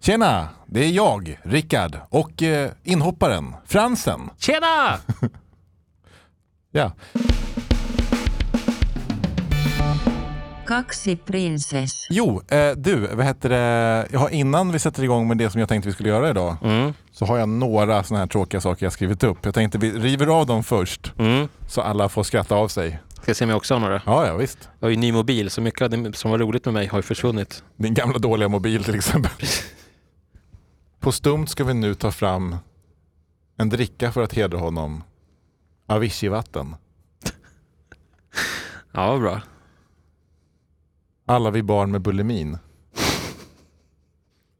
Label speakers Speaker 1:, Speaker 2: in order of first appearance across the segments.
Speaker 1: Tjena! Det är jag, Rickard, och eh, inhopparen, Fransen.
Speaker 2: Tjena!
Speaker 1: Ja.
Speaker 3: Kaksi prinsess.
Speaker 1: Jo, eh, du, vad heter det? Jag har, innan vi sätter igång med det som jag tänkte vi skulle göra idag,
Speaker 2: Mm.
Speaker 1: så har jag några sådana här tråkiga saker jag skrivit upp. Jag tänkte vi river av dem först,
Speaker 2: Mm.
Speaker 1: så alla får skratta av sig.
Speaker 2: Ska se om jag också har några.
Speaker 1: Ja, ja visst.
Speaker 2: Jag har ju ny mobil, så mycket av det som var roligt med mig har ju försvunnit.
Speaker 1: Din gamla dåliga mobil till exempel. På stumt ska vi nu ta fram en dricka för att hedra honom. Avicii-vatten.
Speaker 2: Ja, vad bra.
Speaker 1: Alla vi barn med bulimin.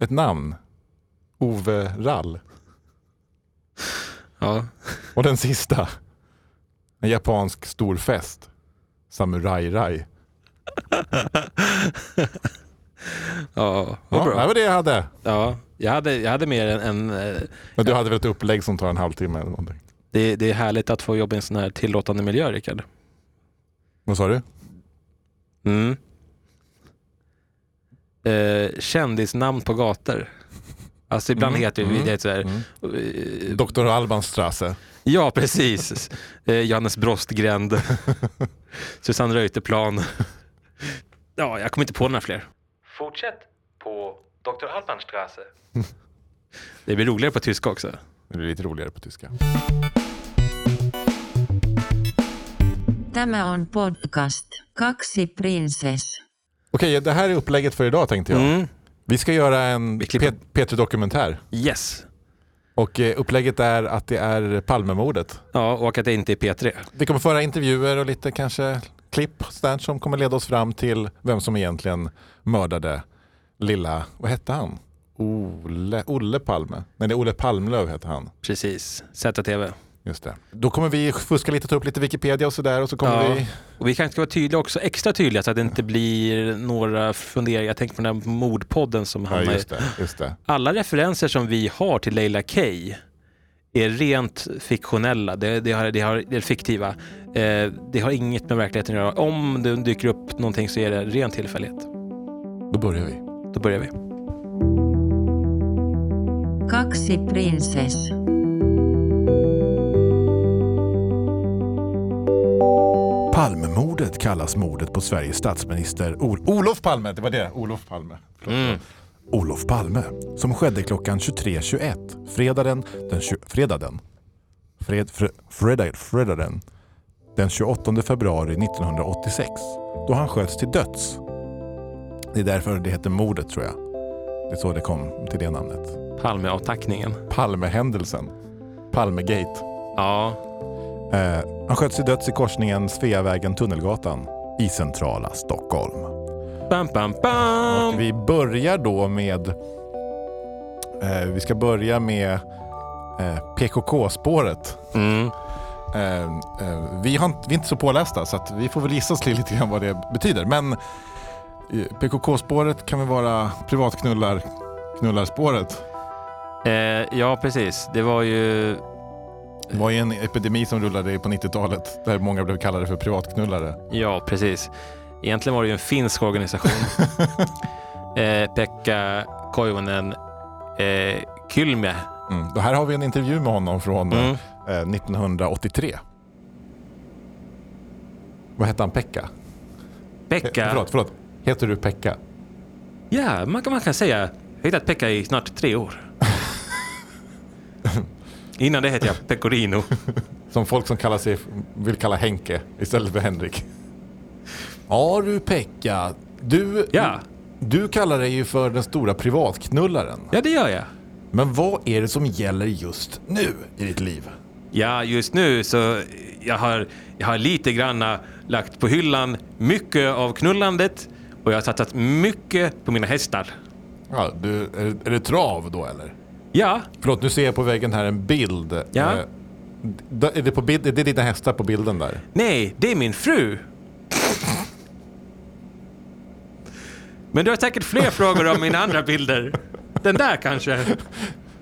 Speaker 1: Ett namn. Ove Rall.
Speaker 2: Ja.
Speaker 1: Och den sista. En japansk storfest. Samurai-rai.
Speaker 2: Ja, vad
Speaker 1: Ja, det
Speaker 2: bra.
Speaker 1: här var det jag hade.
Speaker 2: Ja, jag hade, jag hade mer än... än eh,
Speaker 1: Men du hade väl ett upplägg som tar en halvtimme eller någonting?
Speaker 2: det, det är härligt att få jobba i en sån här tillåtande miljö, Rickard.
Speaker 1: Vad sa du?
Speaker 2: Mm. Eh, kändisnamn på gator. Alltså ibland
Speaker 1: Mm,
Speaker 2: heter
Speaker 1: mm,
Speaker 2: det, det är så här, eh,
Speaker 1: Dr. Albans Strasse.
Speaker 2: Ja, precis. Eh, Johannes Brostgränd. Susanne Reuterplan. Ja, jag kommer inte på några fler. Fortsätt på Dr. Albanstrasse. Det blir roligare på tyska också.
Speaker 1: Det blir lite roligare på tyska.
Speaker 3: Tämä on podcast. Kaksi prinsess.
Speaker 1: Okej, det här är upplägget för idag tänkte jag.
Speaker 2: Mm.
Speaker 1: Vi ska göra en
Speaker 2: Vi klipper-
Speaker 1: Pet- Petri-dokumentär.
Speaker 2: Yes.
Speaker 1: Och eh, upplägget är att det är Palmemordet.
Speaker 2: Ja, och att det inte är P3.
Speaker 1: Vi kommer föra intervjuer och lite kanske klipp sånt som kommer leda oss fram till vem som egentligen mördade lilla, vad hette han? Ole, Olle Palme? Nej, det är Olle Palmlöv hette han.
Speaker 2: Precis. ZTV.
Speaker 1: Just det. Då kommer vi fuska lite, ta upp lite Wikipedia och sådär och så kommer
Speaker 2: Ja.
Speaker 1: vi...
Speaker 2: Och vi kanske ska vara tydliga också, extra tydliga så att det inte blir några funderingar. Jag tänker på den där mordpodden som han
Speaker 1: Ja,
Speaker 2: är-
Speaker 1: just det. Just det.
Speaker 2: alla referenser som vi har till Leila K är rent fiktionella, det, det, har, det, har, det är fiktiva. Eh, det har inget med verkligheten att göra. Om det dyker upp någonting så är det ren tillfällighet.
Speaker 1: Då börjar vi.
Speaker 2: Då börjar vi.
Speaker 3: Kaksi prinsess.
Speaker 1: Palmemordet kallas mordet på Sveriges statsminister Ol- Olof Palme. Det var det, Olof Palme.
Speaker 2: Mm.
Speaker 1: Olof Palme, som skedde klockan 23.21 fredagen den, tju- fredagen, fred, fre, fredag, fredagen, den 28 februari 1986 då han sköts till döds. Det är därför det heter mordet tror jag. Det är så det kom till det namnet.
Speaker 2: Palmeavtackningen.
Speaker 1: Palmehändelsen. Palmegate.
Speaker 2: Ja,
Speaker 1: Eh, han sköts till döds i korsningen Sveavägen-Tunnelgatan i centrala Stockholm.
Speaker 2: bam, bam, bam!
Speaker 1: Och vi börjar då med... Eh, vi ska börja med eh, PKK-spåret.
Speaker 2: Mm.
Speaker 1: Eh, eh, vi, har, inte- vi är inte så pålästa så att vi får väl gissa oss till lite grann vad det betyder. Men eh, PKK-spåret kan väl vara privatknullar knullarspåret.
Speaker 2: Eh, ja, precis. Det var ju...
Speaker 1: Det var ju en epidemi som rullade på 90-talet där många blev kallade för privatknullare.
Speaker 2: Ja, precis. Egentligen var det ju en finsk organisation. eh, Pekka Koivunen eh, Kylme.
Speaker 1: Mm. Och här har vi en intervju med honom från eh,
Speaker 2: Mm.
Speaker 1: eh, 1983. Vad hette han? Pekka?
Speaker 2: Pekka...
Speaker 1: Eh, Förlåt, förlåt. Heter du Pekka?
Speaker 2: Ja, man kan, man kan säga. Jag har hittat Pekka i snart tre år. Innan det hette jag Pecorino.
Speaker 1: Som folk som kallar sig, vill kalla Henke istället för Henrik. Ja du Pekka, du,
Speaker 2: Ja.
Speaker 1: du kallar dig ju för den stora privatknullaren.
Speaker 2: Ja, det gör jag.
Speaker 1: Men vad är det som gäller just nu i ditt liv?
Speaker 2: Ja, just nu så jag har jag har lite granna lagt på hyllan mycket av knullandet och jag har satsat mycket på mina hästar.
Speaker 1: Ja, du, är, är det trav då eller?
Speaker 2: Ja,
Speaker 1: Förlåt, nu ser jag på väggen här en bild.
Speaker 2: Ja.
Speaker 1: Eh, d- Är det, på bild, är det dina hästar på bilden där?
Speaker 2: nej, det är min fru. Men du har säkert fler frågor om mina andra bilder. Den där kanske.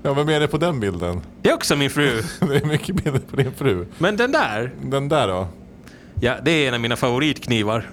Speaker 1: Ja, vem är det på den bilden?
Speaker 2: Det är också min fru.
Speaker 1: Det är mycket bilder på din fru.
Speaker 2: Men den där.
Speaker 1: Den där då?
Speaker 2: Ja, det är en av mina favoritknivar.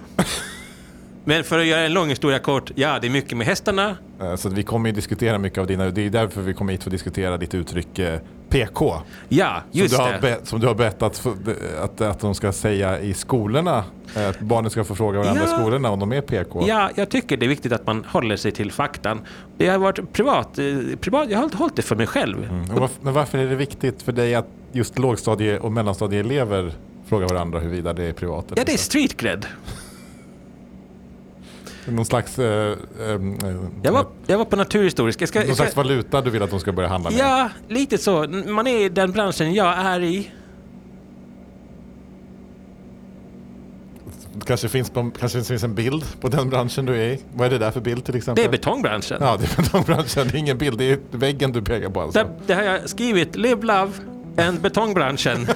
Speaker 2: Men för att göra en lång historia kort, ja det är mycket med hästarna.
Speaker 1: Eh, Så vi kommer ju diskutera mycket av dina... Det är därför vi kommer hit för att diskutera ditt uttryck eh, PK.
Speaker 2: Ja, just
Speaker 1: som, du
Speaker 2: det.
Speaker 1: har be, som du har bett att, få- att, att de ska säga i skolorna. eh, Att barnen ska få fråga varandra i
Speaker 2: Ja.
Speaker 1: skolorna om de är PK.
Speaker 2: Ja, jag tycker det är viktigt att man håller sig till faktan. Jag har varit privat, eh, privat jag har hållit det för mig själv.
Speaker 1: Men Mm. varf- Men varför är det viktigt för dig att just lågstadie och mellanstadieelever frågar varandra huruvida det är privat? eller
Speaker 2: Ja, det är
Speaker 1: så?
Speaker 2: street cred.
Speaker 1: Någon slags, eh, ehm, eh,
Speaker 2: Jag var, jag var på Naturhistorisk. Jag ska,
Speaker 1: någon
Speaker 2: jag ska,
Speaker 1: slags valuta du vill att de ska börja handla med?
Speaker 2: ja, lite så. Man är i den branschen jag är i.
Speaker 1: Det Kanske finns, på- kanske finns en bild på den branschen du är i? Vad är det där för bild till exempel?
Speaker 2: Det är betongbranschen.
Speaker 1: Ja, det är betongbranschen. Det är ingen bild, det är väggen du pekar på alltså.
Speaker 2: Där, där har jag skrivit Live Love and betongbranschen.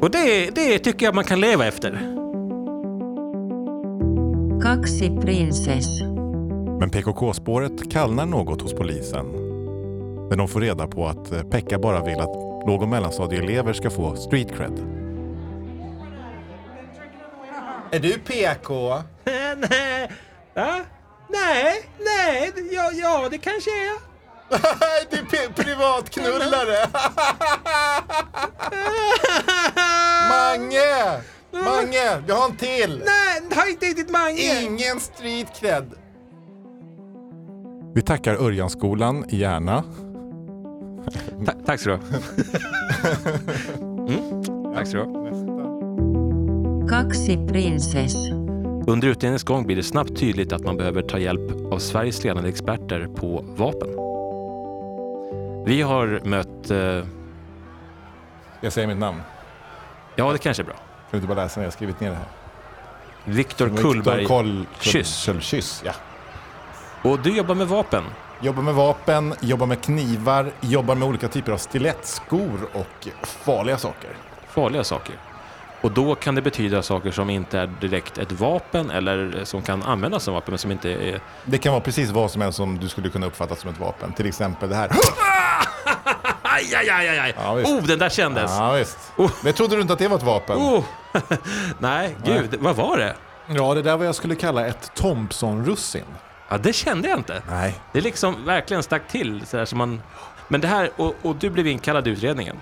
Speaker 2: Och det, det tycker jag man kan leva efter.
Speaker 3: Kaksi prinsess.
Speaker 1: Men PKK-spåret kallnar något hos polisen. När de får reda på att eh, Pekka bara vill att låg och mellanstadieelever ska få street cred.
Speaker 4: Är du PK?
Speaker 2: nej, ja, eh, nej, nej, ja, ja, det kanske är jag.
Speaker 4: du är p- privatknullare! Mange! Mange, vi har en till!
Speaker 2: Nej, det har inte riktigt Mange.
Speaker 4: Ingen street cred.
Speaker 1: Vi tackar Örjanskolan i Järna.
Speaker 2: Ta- tack så du ha. mm, tack så du ha.
Speaker 3: Kaksi prinsess.
Speaker 2: Under utredningens gång blir det snabbt tydligt att man behöver ta hjälp av Sveriges ledande experter på vapen. Vi har mött... eh,
Speaker 1: Jag säger mitt namn.
Speaker 2: Ja, det kanske är bra.
Speaker 1: Kan du inte bara läsa när jag har skrivit ner det här?
Speaker 2: Viktor Kullberg.
Speaker 1: Koll,
Speaker 2: Kyss.
Speaker 1: Kull, kyss ja.
Speaker 2: Och du jobbar med vapen.
Speaker 1: Jobbar med vapen, jobbar med knivar, jobbar med olika typer av stilettskor och farliga saker.
Speaker 2: Farliga saker. Och då kan det betyda saker som inte är direkt ett vapen eller som kan användas som vapen men som inte är...
Speaker 1: Det kan vara precis vad som helst som du skulle kunna uppfatta som ett vapen. Till exempel det här.
Speaker 2: Aj, aj, aj, aj, aj.
Speaker 1: Ja, visst.
Speaker 2: oh, den där kändes!
Speaker 1: Ja, visst. Men jag trodde du inte att det var ett vapen?
Speaker 2: Oh. Nej, gud, vad var det?
Speaker 1: Ja, det där var jag skulle kalla ett Thompson-russin.
Speaker 2: Ja, det kände jag inte.
Speaker 1: Nej.
Speaker 2: Det liksom verkligen stack till sådär som man... Men det här, och, och du blev inkallad i utredningen.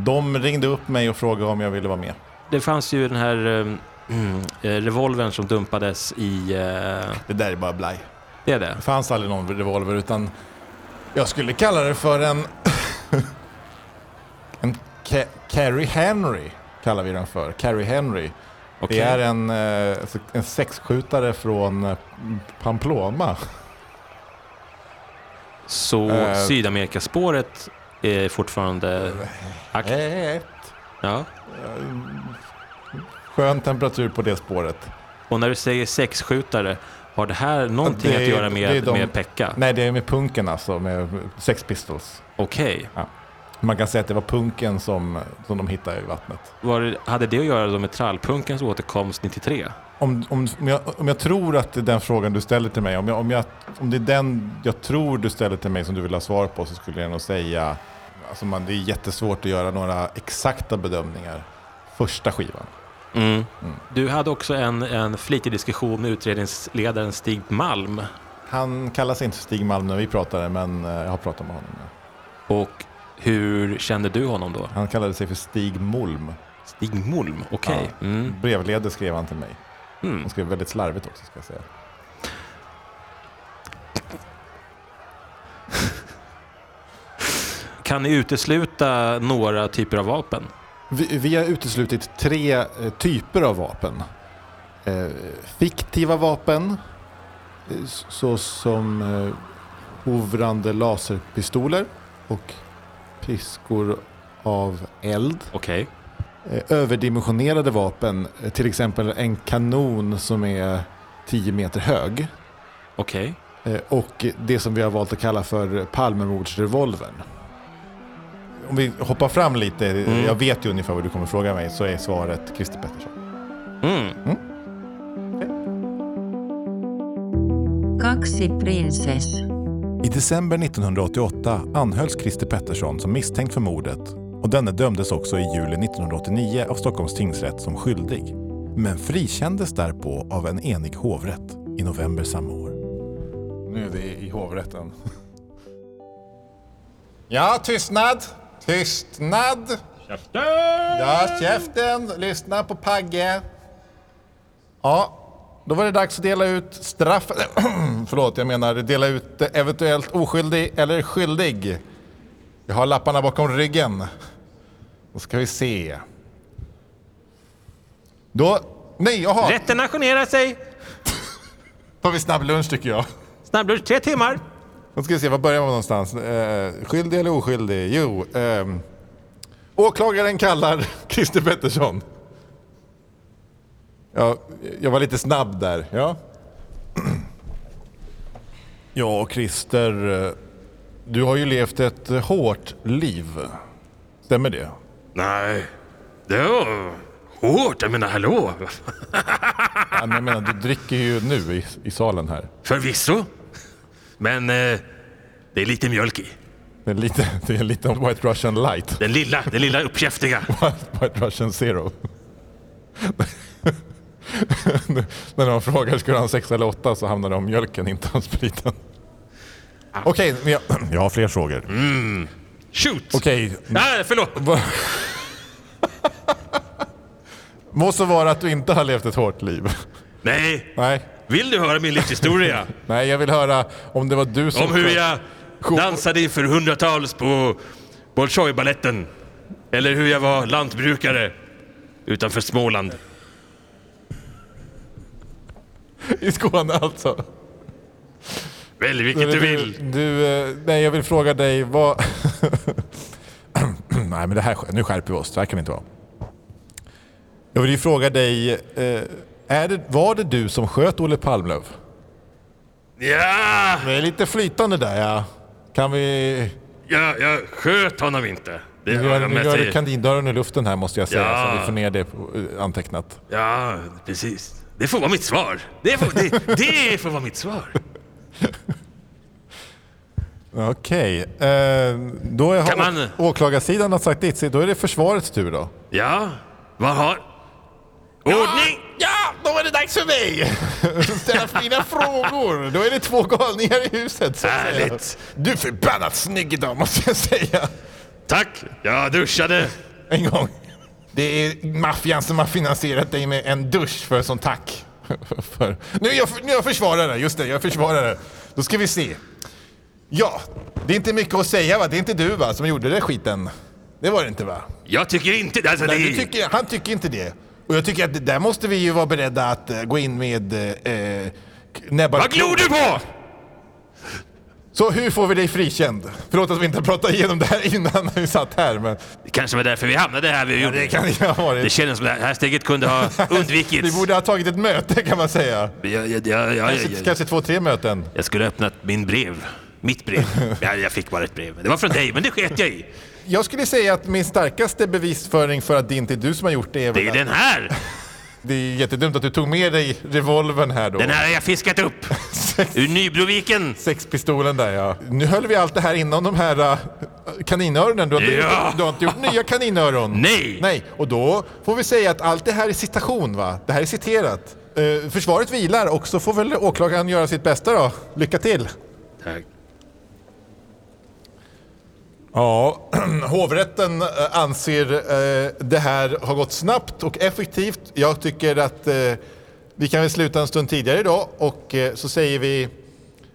Speaker 1: De ringde upp mig och frågade om jag ville vara med.
Speaker 2: Det fanns ju den här ehm, mm, eh, revolvern som dumpades i... eh,
Speaker 1: Det där är bara blaj.
Speaker 2: det är det?
Speaker 1: Det fanns aldrig någon revolver utan jag skulle kalla det för en... en Ca- Carrie Henry kallar vi den för. Carrie Henry.
Speaker 2: Okej.
Speaker 1: Det är en, eh, en sexskjutare från eh, Pamplona.
Speaker 2: Så
Speaker 1: Eh.
Speaker 2: Sydamerikaspåret är fortfarande... Akt.
Speaker 1: Ett.
Speaker 2: Ja.
Speaker 1: Skön temperatur på det spåret.
Speaker 2: Och när du säger sexskjutare, har det här någonting
Speaker 1: Det är-
Speaker 2: att göra
Speaker 1: det
Speaker 2: med,
Speaker 1: är de-
Speaker 2: med Pekka?
Speaker 1: Nej, det är med punken alltså, med Sex Pistols.
Speaker 2: Okej.
Speaker 1: Man kan säga att det var punken som, som de hittade i vattnet.
Speaker 2: Var det- Hade det att göra då med trallpunkens återkomst 93?
Speaker 1: Om, om, om, jag, om jag tror att det är den frågan du ställer till mig, om, jag, om, jag, om det är den jag tror du ställer till mig som du vill ha svar på så skulle jag nog säga, alltså man, det är jättesvårt att göra några exakta bedömningar. Första skivan.
Speaker 2: Mm. Du hade också en, en flitig diskussion med utredningsledaren Stig Malm.
Speaker 1: Han kallas inte Stig Malm när vi pratade, men eh, jag har pratat med honom. nu.
Speaker 2: Och hur kände du honom då?
Speaker 1: Han kallade sig för Stig Molm.
Speaker 2: Stig Malm, okej.
Speaker 1: Ja.
Speaker 2: Mm.
Speaker 1: Brevledes skrev han till mig.
Speaker 2: Mm.
Speaker 1: Han skrev väldigt slarvigt också ska jag säga.
Speaker 2: Kan ni utesluta några typer av vapen?
Speaker 1: Vi, vi har uteslutit tre eh, typer av vapen. Eh, fiktiva vapen, eh, s- såsom eh, hovrande laserpistoler och piskor av eld.
Speaker 2: Okej.
Speaker 1: Eh, överdimensionerade vapen, eh, till exempel en kanon som är 10 meter hög.
Speaker 2: Okej.
Speaker 1: Eh, och det som vi har valt att kalla för Palmemordsrevolvern. Om vi hoppar fram lite,
Speaker 2: Mm.
Speaker 1: jag vet ju ungefär vad du kommer fråga mig, så är svaret Christer Pettersson.
Speaker 2: Mm.
Speaker 3: Kaksi prinsess.
Speaker 1: I december 1988 anhölls Christer Pettersson som misstänkt för mordet
Speaker 5: och denne dömdes också i juli 1989 av Stockholms tingsrätt som skyldig, men frikändes därpå av en enig hovrätt i november samma år.
Speaker 1: Nu är det i hovrätten.
Speaker 6: Ja, tystnad! Tystnad!
Speaker 7: Käften!
Speaker 6: Ja, käften! Lyssna på Pagge. Ja,
Speaker 1: Då var det dags att dela ut straff... Förlåt, jag menar dela ut eventuellt oskyldig eller skyldig. Jag har lapparna bakom ryggen. Då ska vi se. Då... Nej, jaha!
Speaker 2: Rätten ajournerar sig.
Speaker 1: Då har vi snabb lunch tycker jag.
Speaker 2: Snabblunch tre timmar.
Speaker 1: Då ska vi se, var börjar man någonstans? Eh, skyldig eller oskyldig? Jo, ehm, åklagaren kallar Christer Pettersson. Ja, jag var lite snabb där. Ja.
Speaker 5: Ja, och Christer, eh,
Speaker 1: Du har ju levt ett eh, hårt liv. Stämmer det?
Speaker 2: Nej, det var hårt. Jag menar, hallå.
Speaker 1: Ja, men jag menar, du dricker ju nu i, i salen här.
Speaker 2: Förvisso. Men eh, det är lite mjölk i.
Speaker 1: Det är lite, det är lite White Russian light.
Speaker 2: Den lilla, den lilla uppkäftiga.
Speaker 1: White Russian zero. När de frågar ska du ha en sex eller åtta så hamnar det om mjölken, inte om spriten. Okej, men jag...
Speaker 5: Ah.
Speaker 1: Mm.
Speaker 5: jag har fler frågor.
Speaker 2: Shoot!
Speaker 1: Okej,
Speaker 2: Nej, Ah, förlåt.
Speaker 1: må så vara att du inte har levt ett hårt liv.
Speaker 2: Nej,
Speaker 1: Nej,
Speaker 2: vill du höra min livshistoria?
Speaker 1: nej jag vill höra om det var du som...
Speaker 2: Om hur jag dansade inför hundratals på Bolshoi-baletten. Eller hur jag var lantbrukare utanför Småland.
Speaker 1: I Skåne alltså.
Speaker 2: Välj vilket du vill.
Speaker 1: Du, eh, nej, jag vill fråga dig vad...
Speaker 5: Nej, men det här, nu skärper vi oss. Så här kan det inte vara.
Speaker 1: Jag vill ju fråga dig, eh, är det, var det du som sköt Olle Palmlöv?
Speaker 2: Ja,
Speaker 1: Det är lite flytande där ja. Kan vi...
Speaker 2: jag, jag sköt honom inte. Det
Speaker 1: Nu
Speaker 2: har
Speaker 1: gör,
Speaker 2: jag
Speaker 1: nu
Speaker 2: med
Speaker 1: gör
Speaker 2: sig.
Speaker 1: du kandindörren i luften här måste jag säga,
Speaker 2: Ja.
Speaker 1: så vi får ner det på- eh, antecknat.
Speaker 2: Ja, precis. Det får vara mitt svar. Det får, det, det får vara mitt svar.
Speaker 1: Okej, eh, då har
Speaker 2: Kan man-
Speaker 1: å- åklagarsidan har sagt ditt, så då är det försvarets tur då.
Speaker 2: Ja, vad har... Ordning!
Speaker 1: Ja, då är det dags för mig! Ställa fina frågor! Då är det två galningar i huset så att säga.
Speaker 2: Härligt.
Speaker 1: Du är förbannat snygg idag måste jag säga.
Speaker 2: Tack! Jag duschade.
Speaker 1: En gång. Det är maffian som har finansierat dig med en dusch för som tack. för. Nu är jag, nu är jag försvarare, just det, jag är försvarare. Då ska vi se. Ja, det är inte mycket att säga va? Det är inte du va, som gjorde det skiten? Det var det inte va?
Speaker 2: Jag tycker inte... Alltså,
Speaker 1: Nej,
Speaker 2: det,
Speaker 1: du tycker, han tycker inte det. Och jag tycker att det- där måste vi ju vara beredda att eh, gå in med eh, eh, näbbar
Speaker 2: Vad glor du på?
Speaker 1: Så hur får vi dig frikänd? Förlåt att vi inte pratade igenom det här innan när vi satt här, men
Speaker 2: Det kanske var därför vi hamnade här vi gjorde.
Speaker 1: det kan ju ha
Speaker 2: Det
Speaker 1: varit.
Speaker 2: kändes som det här steget kunde ha
Speaker 1: Vi
Speaker 2: undvikits.
Speaker 1: borde ha tagit ett möte kan man säga.
Speaker 2: Jag, jag, jag, jag,
Speaker 1: Kanske,
Speaker 2: jag,
Speaker 1: kanske två, tre möten.
Speaker 2: jag skulle ha öppnat min brev. Mitt brev. Ja, jag fick bara ett brev. Det var från dig, men det sket jag i.
Speaker 1: Jag skulle säga att min starkaste bevisföring för att det inte är du som har gjort det är väl
Speaker 2: Det är
Speaker 1: att-
Speaker 2: den här!
Speaker 1: det är jättedumt att du tog med dig revolvern här då.
Speaker 2: Den här har jag fiskat upp. Ur Nybroviken.
Speaker 1: Sexpistolen där ja. Nu höll vi allt det här innan de här äh, kaninöronen. Du har, inte
Speaker 2: Ja.
Speaker 1: gjort, du har inte gjort nya kaninöron.
Speaker 2: Nej.
Speaker 1: Nej, och då får vi säga att allt det här är citation va? Det här är citerat. Eh, försvaret vilar och så får väl åklagaren göra sitt bästa då. Lycka till!
Speaker 2: Tack.
Speaker 1: Ja, hovrätten eh, anser eh, det här har gått snabbt och effektivt. Jag tycker att eh, vi kan väl sluta en stund tidigare idag och eh, så säger vi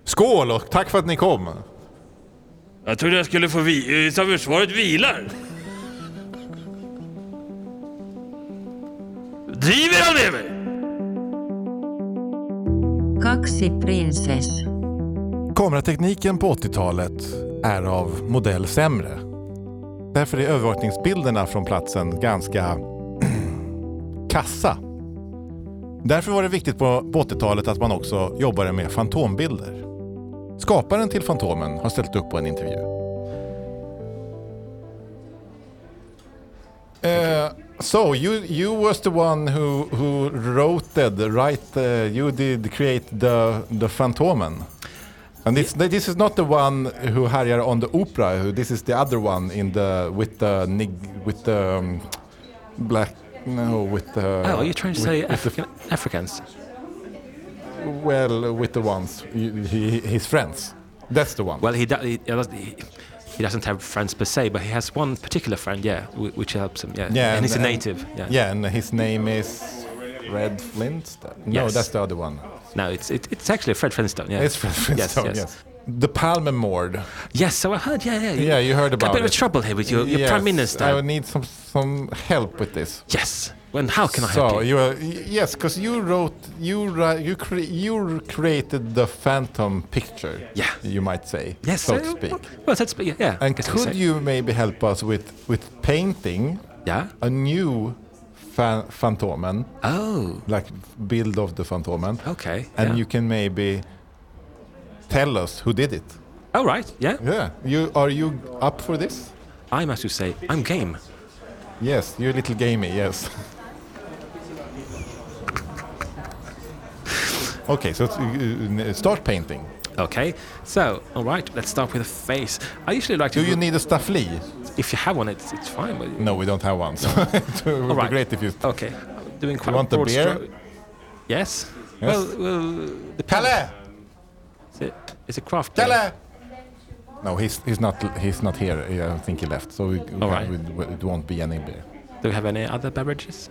Speaker 1: skål och tack för att ni kom.
Speaker 2: Jag trodde jag skulle få vi... eh, Sa försvaret vilar? Driver han med mig?
Speaker 3: kaksi prinsess ,
Speaker 5: Kameratekniken på 80-talet är av modell sämre. Därför är övervakningsbilderna från platsen ganska kassa. Därför var det viktigt på på 80-talet att man också jobbade med fantombilder. Skaparen till Fantomen har ställt upp på en intervju.
Speaker 1: Eh, so you you was the one who who wrote it, right? Eh, you did create the the Fantomen. And this, this is not the one who härjar on the opera. who- This is the other one in the with the nig, with the um, black. No, with the.
Speaker 2: Oh, are you trying to
Speaker 1: with-
Speaker 2: say
Speaker 1: with
Speaker 2: African, Africans?
Speaker 1: the, well with the ones you- he, his friends? That's the one.
Speaker 2: Well, he, do, he, he he doesn't have friends per se, but he has one particular friend, yeah, wh- which helps him, yeah.
Speaker 1: Yeah,
Speaker 2: and he's a
Speaker 1: and-
Speaker 2: native. Yeah.
Speaker 1: yeah, and his name is Red Flint. No,
Speaker 2: Yes.
Speaker 1: that's the other one.
Speaker 2: No, it's it, it's actually Fred Flintstone. Yeah.
Speaker 1: It's Red Flintstone.
Speaker 2: Yes,
Speaker 1: Yes,
Speaker 2: yes.
Speaker 1: The Palmemord.
Speaker 2: Yes, so I heard. Yeah, yeah.
Speaker 1: Yeah, you heard
Speaker 2: Got
Speaker 1: about
Speaker 2: a bit of
Speaker 1: it.
Speaker 2: trouble here with your, your
Speaker 1: Yes,
Speaker 2: prime minister.
Speaker 1: I would need some some help with this.
Speaker 2: Yes. Well, how can I help
Speaker 1: So
Speaker 2: you?
Speaker 1: you are, y- yes, because you wrote you ri- you cre- you created the phantom picture.
Speaker 2: Yeah.
Speaker 1: you might say.
Speaker 2: Yes,
Speaker 1: so to
Speaker 2: uh,
Speaker 1: speak.
Speaker 2: Well, that's yeah. yeah I
Speaker 1: And
Speaker 2: guess we
Speaker 1: could
Speaker 2: say.
Speaker 1: you maybe help us with with painting
Speaker 2: Yeah.
Speaker 1: a new fa- Fantomen,
Speaker 2: Oh.
Speaker 1: like build of the Fantomen,
Speaker 2: Okay.
Speaker 1: and
Speaker 2: yeah.
Speaker 1: you can maybe tell us who did it.
Speaker 2: All right. Yeah.
Speaker 1: Yeah, you are you up for this?
Speaker 2: I'm as you say. I'm game.
Speaker 1: Yes, you're a little gamey. Yes. okay, so it's, uh, uh, start painting.
Speaker 2: Okay. So, all right. Let's start with a face. I usually like to.
Speaker 1: Do you need a staffli?
Speaker 2: If you have one, it's it's fine. But
Speaker 1: No, we don't have one. So it would be
Speaker 2: right.
Speaker 1: great if you.
Speaker 2: okay. I'm doing quite.
Speaker 1: want
Speaker 2: a
Speaker 1: a
Speaker 2: broad
Speaker 1: beer?
Speaker 2: stro- Yes. Well, well.
Speaker 4: Kalle!
Speaker 2: It's a, it's a craft. beer.
Speaker 4: Kalle!
Speaker 1: No, he's he's not he's not here. Yeah, I think he left. So we, we,
Speaker 2: All right.
Speaker 1: we, we- it won't be any beer.
Speaker 2: Do we have any other beverages?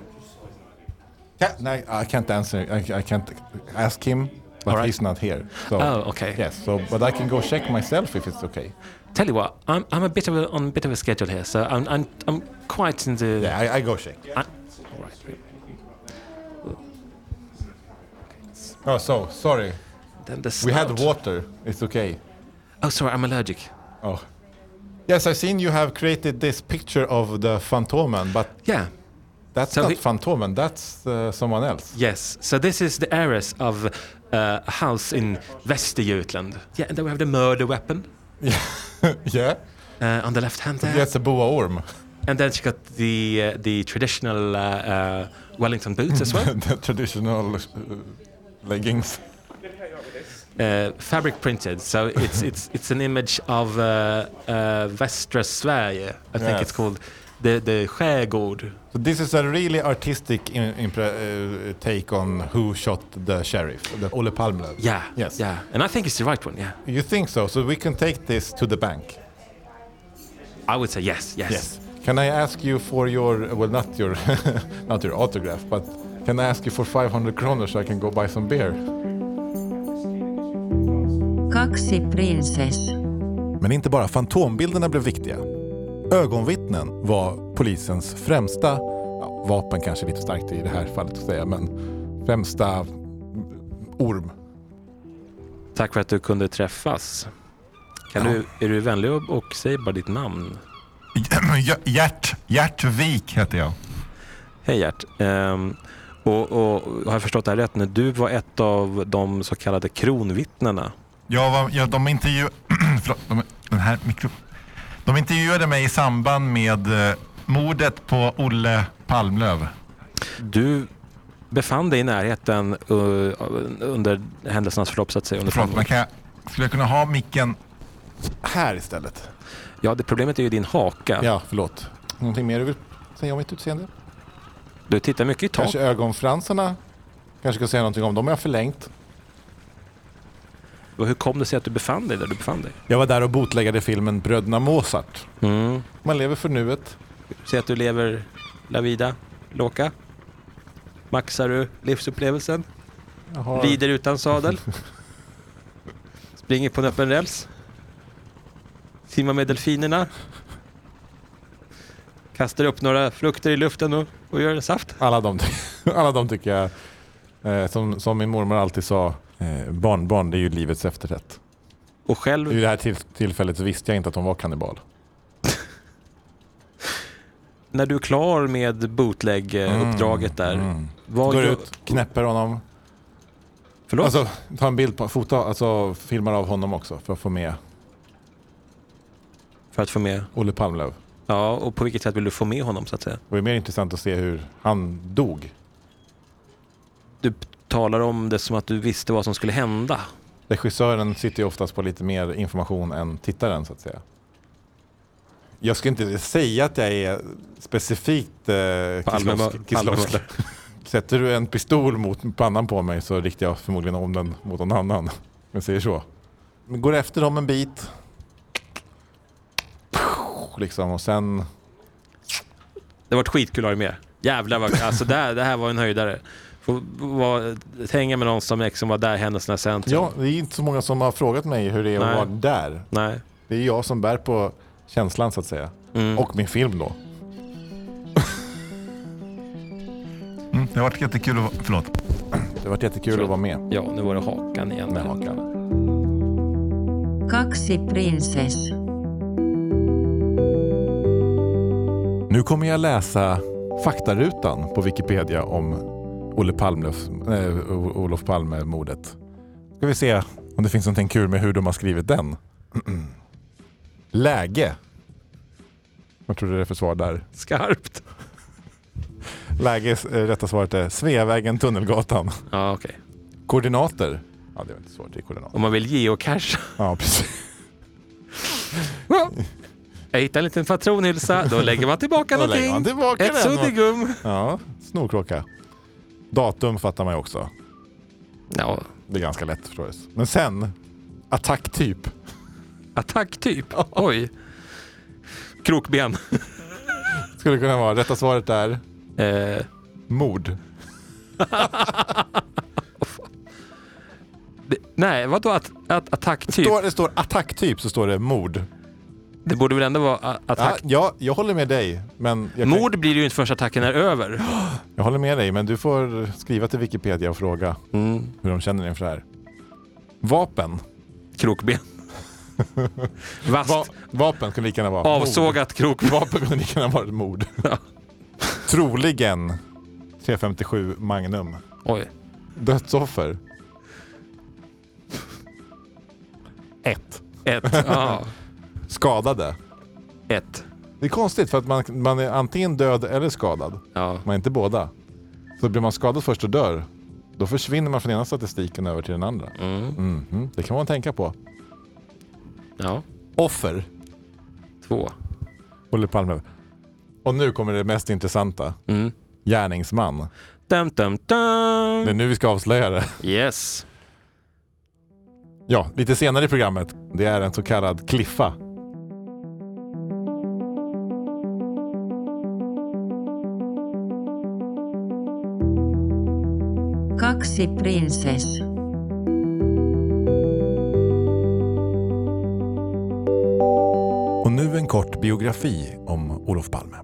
Speaker 1: No, I can't answer. I, I can't ask him. But
Speaker 2: All right.
Speaker 1: he's not here. So
Speaker 2: Oh, okay.
Speaker 1: Yes. So, but I can go check myself if it's okay.
Speaker 2: Tell you what, I'm, I'm a bit of a, on a bit of a schedule here, so I'm, I'm, I'm quite in the.
Speaker 1: Yeah, I, I go check.
Speaker 2: I, all right.
Speaker 1: Oh, so sorry.
Speaker 2: Then the
Speaker 1: We
Speaker 2: snout.
Speaker 1: had water. It's okay.
Speaker 2: Oh, sorry, I'm allergic.
Speaker 1: Oh. Yes, I've seen you have created this picture of the Fantomen, but
Speaker 2: Yeah.
Speaker 1: that's
Speaker 2: So
Speaker 1: not
Speaker 2: he-
Speaker 1: Fantomen, that's uh, someone else.
Speaker 2: Yes. So this is the heiress of uh, a house in Västergötland. Yeah, and then we have the murder weapon
Speaker 1: yeah?
Speaker 2: uh, on the left hand there.
Speaker 1: Yes, a boa orm.
Speaker 2: And then she got the uh, the traditional uh, uh, Wellington boots as well,
Speaker 1: the traditional uh, leggings.
Speaker 2: uh, fabric printed. So it's it's it's an image of uh, uh, Västra Sverige. I think
Speaker 1: Yes.
Speaker 2: it's called the the skärgård.
Speaker 1: So this is a really artistic in, impre- uh, take on who shot the sheriff, the Ole Palme.
Speaker 2: Yeah.
Speaker 1: Yes.
Speaker 2: Yeah. And I think it's the right one. Yeah.
Speaker 1: You think so? So we can take this to the bank.
Speaker 2: I would say yes. Yes.
Speaker 1: Can I ask you for your well, not your, not your autograph, but can I ask you for 500 kronor so I can go buy some beer?
Speaker 3: Kaksi prinsess.
Speaker 1: Men inte bara fantombilderna blev viktiga. Ögonvittnen var polisens främsta, ja, vapen kanske är lite starkt i det här fallet att säga, men främsta orm.
Speaker 2: Tack för att du kunde träffas. Kan du, är du vänlig och, och säg bara ditt namn?
Speaker 8: Gert, Gert Wik heter jag.
Speaker 2: Hej Gert. Ehm, och, och, har jag förstått det här rätt nu? Du var ett av de så kallade kronvittnena.
Speaker 8: Jag var, jag, de, intervju, förlåt, de, den här mikro, de intervjuade mig i samband med eh, mordet på Olle Palmlöv.
Speaker 2: Du befann dig i närheten eh, under händelsernas förlopp så att säga. Under
Speaker 8: Förlåt, men kan jag, skulle jag kunna ha micken?
Speaker 1: Här istället.
Speaker 2: Ja, det problemet är ju din haka.
Speaker 1: Ja, förlåt. Någonting mer du vill säga om mitt utseende?
Speaker 2: Du tittar mycket i tak.
Speaker 1: Kanske ögonfransarna? Kanske ska säga någonting om dem jag har förlängt.
Speaker 2: Och Hur kom det sig att du befann dig där du befann dig?
Speaker 1: Jag var där och botläggade filmen Bröderna Mozart.
Speaker 2: Mm.
Speaker 1: Man lever för nuet.
Speaker 2: Säg att du lever la vida loca. Maxar du livsupplevelsen?
Speaker 1: Jag har-
Speaker 2: Rider utan sadel. Springer på en öppen räls. Simmar med delfinerna. Kastar upp några frukter i luften och, och gör en saft.
Speaker 1: Alla de, alla de tycker jag, eh, som, som min mormor alltid sa, eh, barnbarn det är ju livets efterrätt.
Speaker 2: Och
Speaker 1: I
Speaker 2: själv,
Speaker 1: det här till, tillfället så visste jag inte att hon var kannibal.
Speaker 2: när du är klar med bootleg-uppdraget där. Vad
Speaker 1: Mm, Går
Speaker 2: gör-
Speaker 1: ut, knäpper honom,
Speaker 2: Förlåt?
Speaker 1: alltså tar en bild på, fotar, alltså filmar av honom också för att få med
Speaker 2: för att få med.
Speaker 1: Olle Palmlöv.
Speaker 2: Ja, och på vilket sätt vill du få med honom så att säga?
Speaker 1: Det är mer intressant att se hur han dog.
Speaker 2: Du talar om det som att du visste vad som skulle hända.
Speaker 1: regissören sitter ju oftast på lite mer information än tittaren så att säga. Jag skulle inte säga att jag är specifikt eh,
Speaker 2: Palme-
Speaker 1: Kislovsk-
Speaker 2: Palme-
Speaker 1: Kislovsk. Sätter du en pistol mot pannan på mig så riktar jag förmodligen om den mot någon annan. Men säger så. Men Går efter dem en bit. Liksom och sen...
Speaker 2: Det har varit skitkul att ha dig med. Jävlar vad alltså det, här- det här var en höjdare. Få vara, hänga med någon som liksom var där händelserna i centrum.
Speaker 1: Ja, det är inte så många som har frågat mig hur det är
Speaker 2: Nej.
Speaker 1: att vara där.
Speaker 2: Nej.
Speaker 1: Det är jag som bär på känslan så att säga. Och min film då.
Speaker 9: Mm, Det har varit jättekul att... Förlåt.
Speaker 1: Det har varit jättekul att vara med.
Speaker 2: Ja, nu var det Hakan igen.
Speaker 1: Med Hakan.
Speaker 3: Kaksi prinsess.
Speaker 1: Nu kommer jag läsa faktarutan på Wikipedia om Olle Palmlöf, eh, O- Olof Palme-mordet. Ska vi se om det finns någonting kul med hur de har skrivit den. Mm-mm. Läge. Vad tror du det är för svar där?
Speaker 2: Skarpt.
Speaker 1: Läge, eh, rätta svaret är Sveavägen, Tunnelgatan.
Speaker 2: Ja, okej.
Speaker 1: Koordinater. Ja, det är inte svårt. Det är koordinater.
Speaker 2: Om man vill geocacha.
Speaker 1: Ja, precis.
Speaker 2: Jag hittar en liten patronhylsa, då lägger man tillbaka
Speaker 1: Då lägger
Speaker 2: någonting.
Speaker 1: man tillbaka
Speaker 2: Ett
Speaker 1: den. och-
Speaker 2: suddigum.
Speaker 1: Ja, snorkråka. Datum fattar man ju också.
Speaker 2: Ja,
Speaker 1: Det är ganska lätt förstås. Men sen, attacktyp.
Speaker 2: attacktyp. typ. Oj. Krokben.
Speaker 1: Skulle kunna vara. Rätta svaret är
Speaker 2: Eh,
Speaker 1: mord.
Speaker 2: det, nej, vadå att, att, attacktyp?
Speaker 1: Står, det står attacktyp så står det mord.
Speaker 2: Det borde väl ändå vara a-
Speaker 1: Ja,
Speaker 2: attack?
Speaker 1: ja, jag håller med dig. Men jag, kan,
Speaker 2: Mord blir det ju inte förrän attacken är över.
Speaker 1: jag håller med dig, men du får skriva till Wikipedia och fråga
Speaker 2: Mm.
Speaker 1: hur de känner inför det här. Vapen.
Speaker 2: Krokben. Vasst.
Speaker 1: Va, vapen kunde lika gärna vara mord.
Speaker 2: Avsågat krokben.
Speaker 1: Vapen kunde lika gärna vara mord.
Speaker 2: Ja.
Speaker 1: Troligen 357 Magnum.
Speaker 2: Oj.
Speaker 1: Dödsoffer. Ett.
Speaker 2: Ett. Ja.
Speaker 1: Skadade.
Speaker 2: Ett.
Speaker 1: Det är konstigt för att man, man är antingen död eller skadad.
Speaker 2: Ja.
Speaker 1: Man är inte båda. Så blir man skadad först och dör, då försvinner man från ena statistiken över till den andra.
Speaker 2: Mm.
Speaker 1: Mhm. Det kan man tänka på.
Speaker 2: ja.
Speaker 1: Offer.
Speaker 2: Två.
Speaker 1: Olle Palme. Och nu kommer det mest intressanta.
Speaker 2: Mm.
Speaker 1: Gärningsman.
Speaker 2: Dum, dum,
Speaker 1: Det är
Speaker 2: dum.
Speaker 1: nu vi ska avslöja det.
Speaker 2: Yes.
Speaker 1: Ja, lite senare i programmet. Det är en så kallad kliffa.
Speaker 3: Kaksi prinsess.
Speaker 9: Och nu en kort biografi om Olof Palme.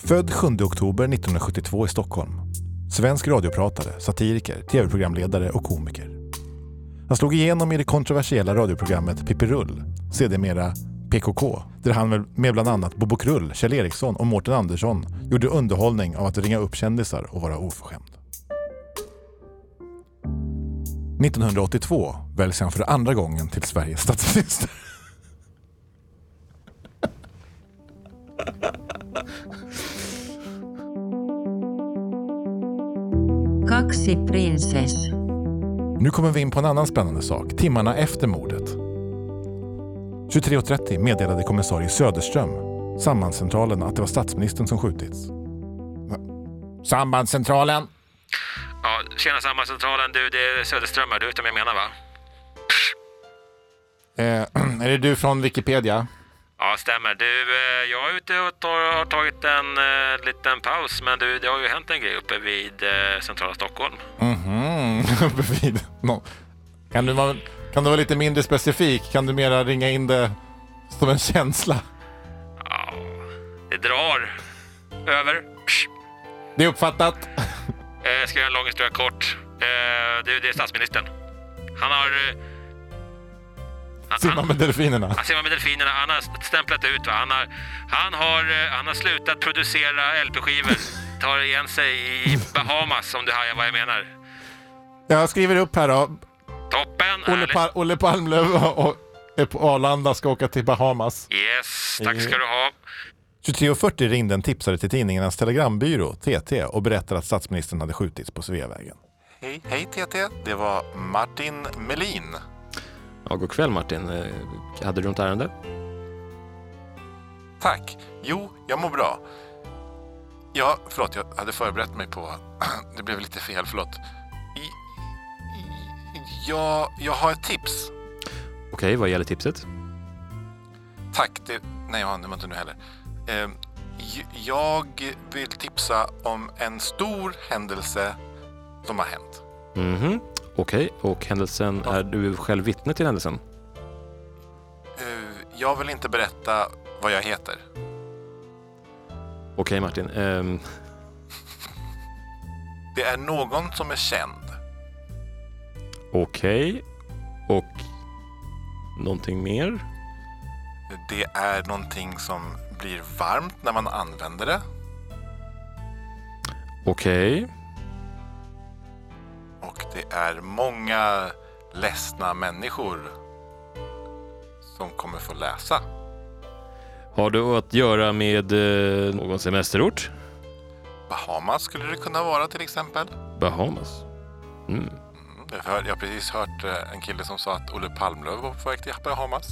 Speaker 9: Född 7 oktober 1972 i Stockholm. Svensk radiopratare, satiriker, tv-programledare och komiker. Han slog igenom i det kontroversiella radioprogrammet Pippi Rull, sedermera PKK, där han med- med bland annat Bobo Krull, Kjell Eriksson och Mårten Andersson gjorde underhållning av att ringa upp kändisar och vara oförskämd. 1982 väljs han för andra gången till Sveriges statsminister.
Speaker 3: Kaksi prinsess.
Speaker 9: Nu kommer vi in på en annan spännande sak, timmarna efter mordet. 23.30 meddelade kommissarie Söderström sambandscentralen att det var statsministern som skjutits.
Speaker 1: Sambandscentralen.
Speaker 2: Ja, tjena sambandscentralen. Du, det är Söderström här. Du vet vem jag menar va?
Speaker 1: Eh, är det du från Wikipedia?
Speaker 2: Ja, stämmer. Du, eh, jag är ute och tar, har tagit en eh, liten paus, men du, det har ju hänt en grej uppe vid eh, centrala Stockholm.
Speaker 1: Mhm. Bredvid. Nå. kan, du vara, kan du vara lite mindre specifik? Kan du mera ringa in det som en känsla?
Speaker 2: Ja, det drar. Över. Psch.
Speaker 1: Det är uppfattat.
Speaker 2: Eh, ska jag göra en lång historia kort. Eh, du, det är statsministern. Han har... Eh, han-
Speaker 1: Simma med delfinerna.
Speaker 2: Han simmar med delfinerna. Han har stämplat ut. Va? Han, har, han, har, eh, han har slutat producera LP-skivor. Tar igen sig i Bahamas om du hajar vad jag menar.
Speaker 1: Jag skriver upp här då.
Speaker 2: Toppen!
Speaker 1: Olle,
Speaker 2: härligt.
Speaker 1: Pal- Olle Palmlöv och, och, är på Arlanda ska åka till Bahamas.
Speaker 2: Yes, tack
Speaker 10: Eh,
Speaker 2: ska du ha.
Speaker 9: 23.40 ringde en tipsare till tidningarnas telegrambyrå, TT, och berättade att statsministern hade skjutits på Sveavägen.
Speaker 1: Hej, hej TT. Det var Martin Melin.
Speaker 10: Ja, god kväll Martin. Eh, Hade du något ärende?
Speaker 1: Tack. Jo, jag mår bra. Ja, förlåt, jag hade förberett mig på... Det blev lite fel, förlåt. I, i, jag, jag har ett tips.
Speaker 10: Okej, vad gäller tipset?
Speaker 1: Tack. Det, nej, jag har inte nu heller. Ehm, j- jag vill tipsa om en stor händelse som har hänt.
Speaker 10: Mhm. Okej, och händelsen, är du själv vittne till händelsen?
Speaker 1: Eh, jag vill inte berätta vad jag heter.
Speaker 10: Okej Martin, ehm,
Speaker 1: Det är någon som är känd.
Speaker 10: okej. Och någonting mer?
Speaker 1: Det är någonting som blir varmt när man använder det.
Speaker 10: Okej.
Speaker 1: Och det är många ledsna människor som kommer få läsa.
Speaker 10: Har du att göra med eh, någon semesterort?
Speaker 1: Bahamas skulle det kunna vara till exempel.
Speaker 10: Bahamas? Mm.
Speaker 1: Mm, Jag hör- jag har precis hört eh, en kille som sa att Olle Palmlöv var på väg till Bahamas.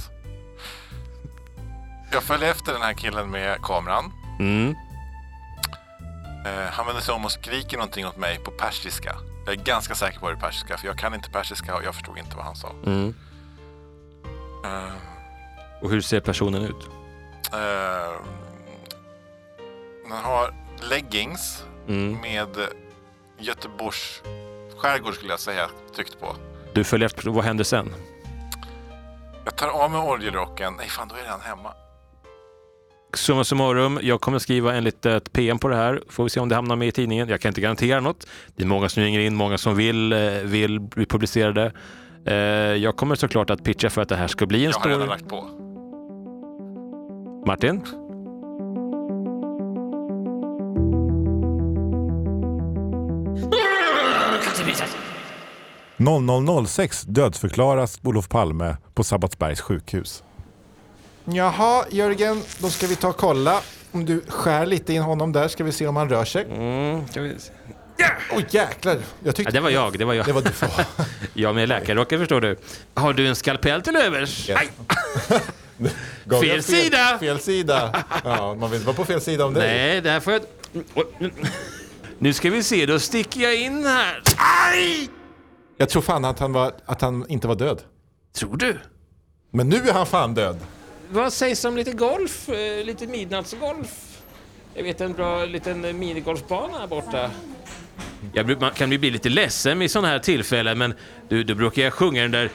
Speaker 1: Jag följde efter den här killen med kameran.
Speaker 10: Mm.
Speaker 1: Eh, Han vänder sig om och skriker någonting åt mig på persiska. Jag är ganska säker på att det är persiska, för jag kan inte persiska och jag förstod inte vad han sa.
Speaker 10: Mm.
Speaker 1: Eh,
Speaker 10: Och hur ser personen ut?
Speaker 1: eh, Han har leggings
Speaker 10: Mm.
Speaker 1: med Göteborgs skärgård skulle jag säga tryckt på.
Speaker 10: Du följer efter, vad händer sen?
Speaker 1: Jag tar av mig oljerocken. Nej fan, då är han hemma.
Speaker 10: Summa summarum, jag kommer skriva en litet PM på det här. Får vi se om det hamnar med i tidningen. Jag kan inte garantera något. Det är många som ringer in, många som vill, eh, vill bli publicerade. Eh, Jag kommer såklart att pitcha för att det här ska bli en
Speaker 1: Jag har redan
Speaker 10: story.
Speaker 1: lagt på.
Speaker 10: Martin?
Speaker 11: det. 0006 dödsförklaras Olof Palme på Sabbatsbergs sjukhus.
Speaker 12: Jaha, Jörgen, då ska vi ta och kolla. Om du skär lite in honom där ska vi se om han rör sig.
Speaker 10: Mm,
Speaker 12: Oj jäklar, jag
Speaker 10: Ja,
Speaker 12: tyckte
Speaker 10: det var jag, det var jag.
Speaker 12: det var du.
Speaker 10: Jag med läkarrocken förstår du. Har du en skalpell till övers? Aj!
Speaker 12: Gav
Speaker 10: Fel
Speaker 12: jag
Speaker 10: sida!
Speaker 12: Fel sida! Ja, man vill inte vara på fel sida om dig.
Speaker 10: Nej, det här får jag... Nu ska vi se, då sticker jag in här. Aj!
Speaker 12: Jag tror fan att han, var, att han inte var död.
Speaker 10: Tror du?
Speaker 12: Men nu är han fan död.
Speaker 10: Vad sägs om lite golf? Eh, Lite midnattsgolf? Jag vet en bra liten eh, minigolfbana här borta. Jag bru- man kan ju bli lite ledsen i sådana här tillfällen, men du, då brukar jag sjunga den där...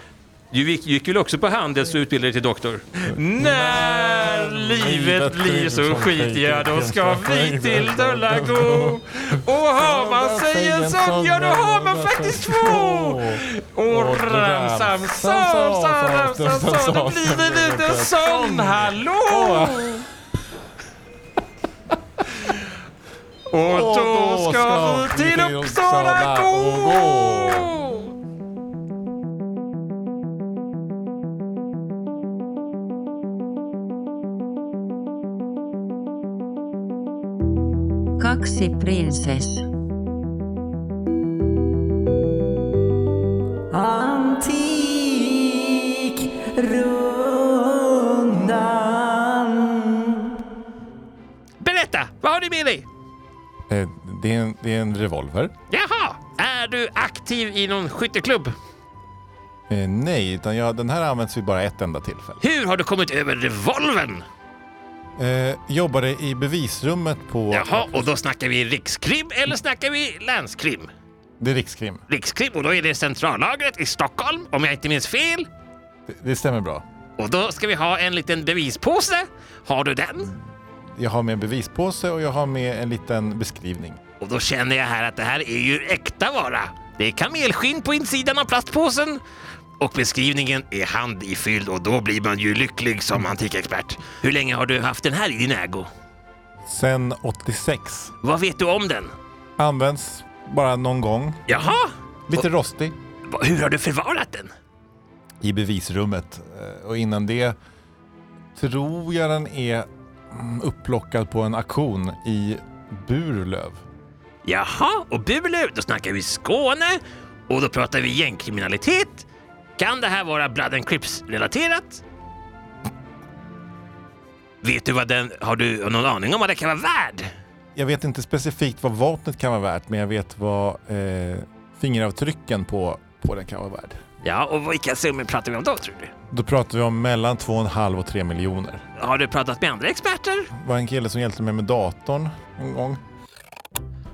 Speaker 10: Du gick, gick väl också på Handels och utbildade dig till doktor? När livet blir så skit, ja då ska vi till Dulla gå. Och har man sig en sån, ja då har man faktiskt två. Och ramsam sam sam ramsam sam då blir det lite sån hallå! Och då ska vi till Uppsala gå!
Speaker 3: Kaksi prinsess.
Speaker 13: Antikrundan.
Speaker 10: Berätta, vad har du med dig?
Speaker 11: Eh, Det är en, det är en revolver.
Speaker 10: Jaha, är du aktiv i någon skytteklubb?
Speaker 11: Eh, Nej, utan jag, den här används vid bara ett enda tillfälle.
Speaker 10: Hur har du kommit över revolven?
Speaker 11: Eh, jobbade i bevisrummet på...
Speaker 10: Jaha, och då snackar vi rikskrim eller snackar vi länskrim?
Speaker 11: Det är Rikskrim.
Speaker 10: Rikskrim, och då är det centrallagret i Stockholm, om jag inte minns fel.
Speaker 11: Det, det stämmer bra.
Speaker 10: Och då ska vi ha en liten bevispåse. Har du den?
Speaker 11: Jag har med en bevispåse och jag har med en liten beskrivning.
Speaker 10: Och då känner jag här att det här är ju äkta vara. Det är kamelskinn på insidan av plastpåsen. Och beskrivningen är handifylld och då blir man ju lycklig som antikexpert. Hur länge har du haft den här i din ägo?
Speaker 11: Sen 86.
Speaker 10: Vad vet du om den?
Speaker 11: Används bara någon gång.
Speaker 10: Jaha,
Speaker 11: Lite rostig.
Speaker 10: Va- hur har du förvarat den?
Speaker 11: I bevisrummet. Eh, Och innan det tror jag den är mm, upplockad på en auktion i Burlöv.
Speaker 10: Jaha, och Burlöv, då snackar vi Skåne. Och då pratar vi gängkriminalitet. Kan det här vara Blood and Crips-relaterat? Vet du vad den... Har du någon aning om vad den kan vara värd?
Speaker 1: Jag vet inte specifikt vad vapnet kan vara värt, men jag vet vad eh, fingeravtrycken på, på den kan vara värd.
Speaker 10: Ja, och vilka summor pratar vi om då, tror du?
Speaker 1: Då pratar vi om mellan 2,5 och 3 miljoner.
Speaker 10: Har du pratat med andra experter?
Speaker 1: Det var en kille som hjälpte mig med datorn en gång.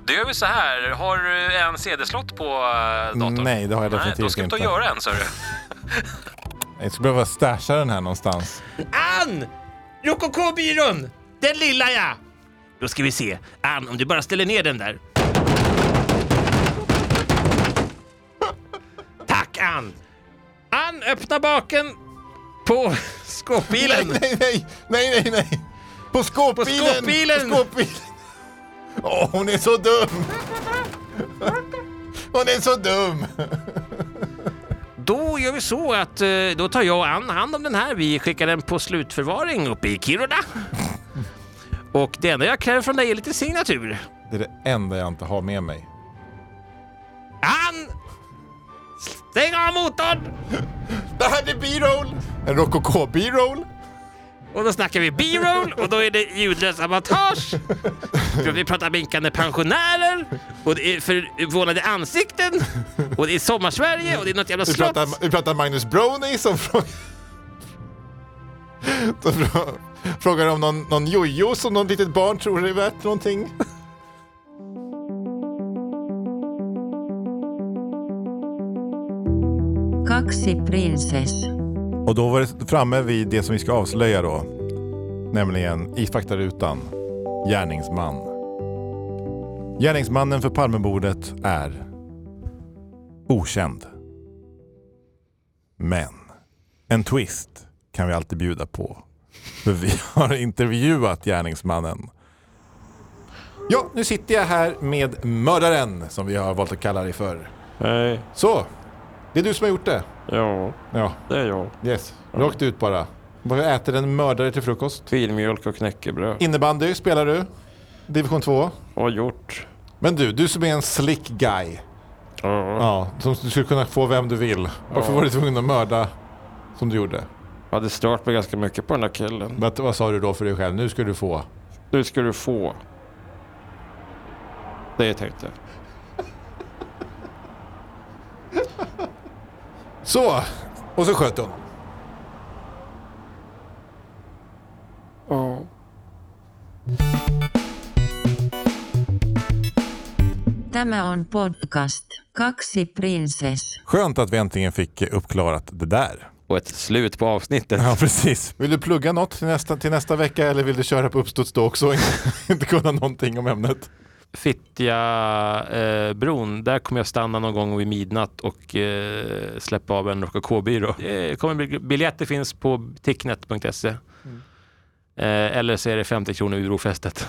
Speaker 2: Då gör vi så här. Har du en CD-slott på eh, datorn?
Speaker 1: Nej, det har jag
Speaker 2: Nej,
Speaker 1: definitivt
Speaker 2: då ska du ta
Speaker 1: inte.
Speaker 2: och göra en, sa du.
Speaker 1: Jag skulle behöva stasha den här någonstans.
Speaker 10: Ann! RKK-byrån! Den lilla ja! Då ska vi se. Ann, om du bara ställer ner den där. Tack Ann! Ann, öppna baken på skåpbilen.
Speaker 8: Nej, nej, nej, nej, nej. På skåpbilen!
Speaker 10: På skåpbilen!
Speaker 8: På skåpbilen. Åh, hon är så dum! Hon är så dum!
Speaker 10: Då gör vi så att eh, då tar jag och Ann hand om den här. Vi skickar den på slutförvaring uppe i Kiruna. Och det enda jag kräver från dig är lite signatur.
Speaker 1: Det är det enda jag inte har med mig.
Speaker 10: Ann! Stäng av motorn!
Speaker 8: Det här blir B-roll! En rokoko B-roll?
Speaker 10: Och då snackar vi B-roll och då är det ljudlös avantage. Vi pratar vinkande pensionärer och det är förvånade ansikten och det är sommarsverige och det är något jävla
Speaker 8: Vi
Speaker 10: slott.
Speaker 8: pratar, vi pratar Magnus Brownie som frågar... Som frå- frågar om någon, någon jojo som någon litet barn tror är värt någonting.
Speaker 3: Kaksi prinsess.
Speaker 1: Och då var det framme vid det som vi ska avslöja då. Nämligen i faktarutan, gärningsman. Gärningsmannen för Palmemordet är okänd. Men en twist kan vi alltid bjuda på. För vi har intervjuat gärningsmannen. Ja, nu sitter jag här med mördaren som vi har valt att kalla dig för.
Speaker 14: Nej,
Speaker 1: Så, det är du som har gjort det.
Speaker 14: ja,
Speaker 1: Ja.
Speaker 14: det är jag.
Speaker 1: Yes, rakt ut bara. Vad äter en mördare till frukost?
Speaker 14: Filmjölk och knäckebröd.
Speaker 1: Innebandy spelar du, division 2.
Speaker 14: Har gjort.
Speaker 1: Men du, du som är en slick guy.
Speaker 14: Ja.
Speaker 1: Ja, som du skulle kunna få vem du vill. Varför
Speaker 14: Ja.
Speaker 1: var du tvungen att mörda som du gjorde?
Speaker 14: Hade stört mig ganska mycket på den där killen.
Speaker 1: Vad, vad sa du då för dig själv? Nu ska du få.
Speaker 14: Nu ska du få. Det tänkte jag.
Speaker 1: Så! Och så sköt hon.
Speaker 14: Ja.
Speaker 3: Tämä on podcast. Kaksi prinsess.
Speaker 1: Skönt att vi äntligen fick uppklarat det där.
Speaker 2: Och ett slut på avsnittet.
Speaker 1: Ja, precis.
Speaker 8: Vill du plugga något till nästa, till nästa vecka eller vill du köra på uppstuds då också och inte- inte kunna någonting om ämnet?
Speaker 2: Fittja eh, bron, där kommer jag stanna någon gång vid midnatt och eh, släppa av en rokokobyrå. Eh, kommer bli- biljetter finns E. på ticknet.se. Eh, eller så är det 50 kronor ur brofästet.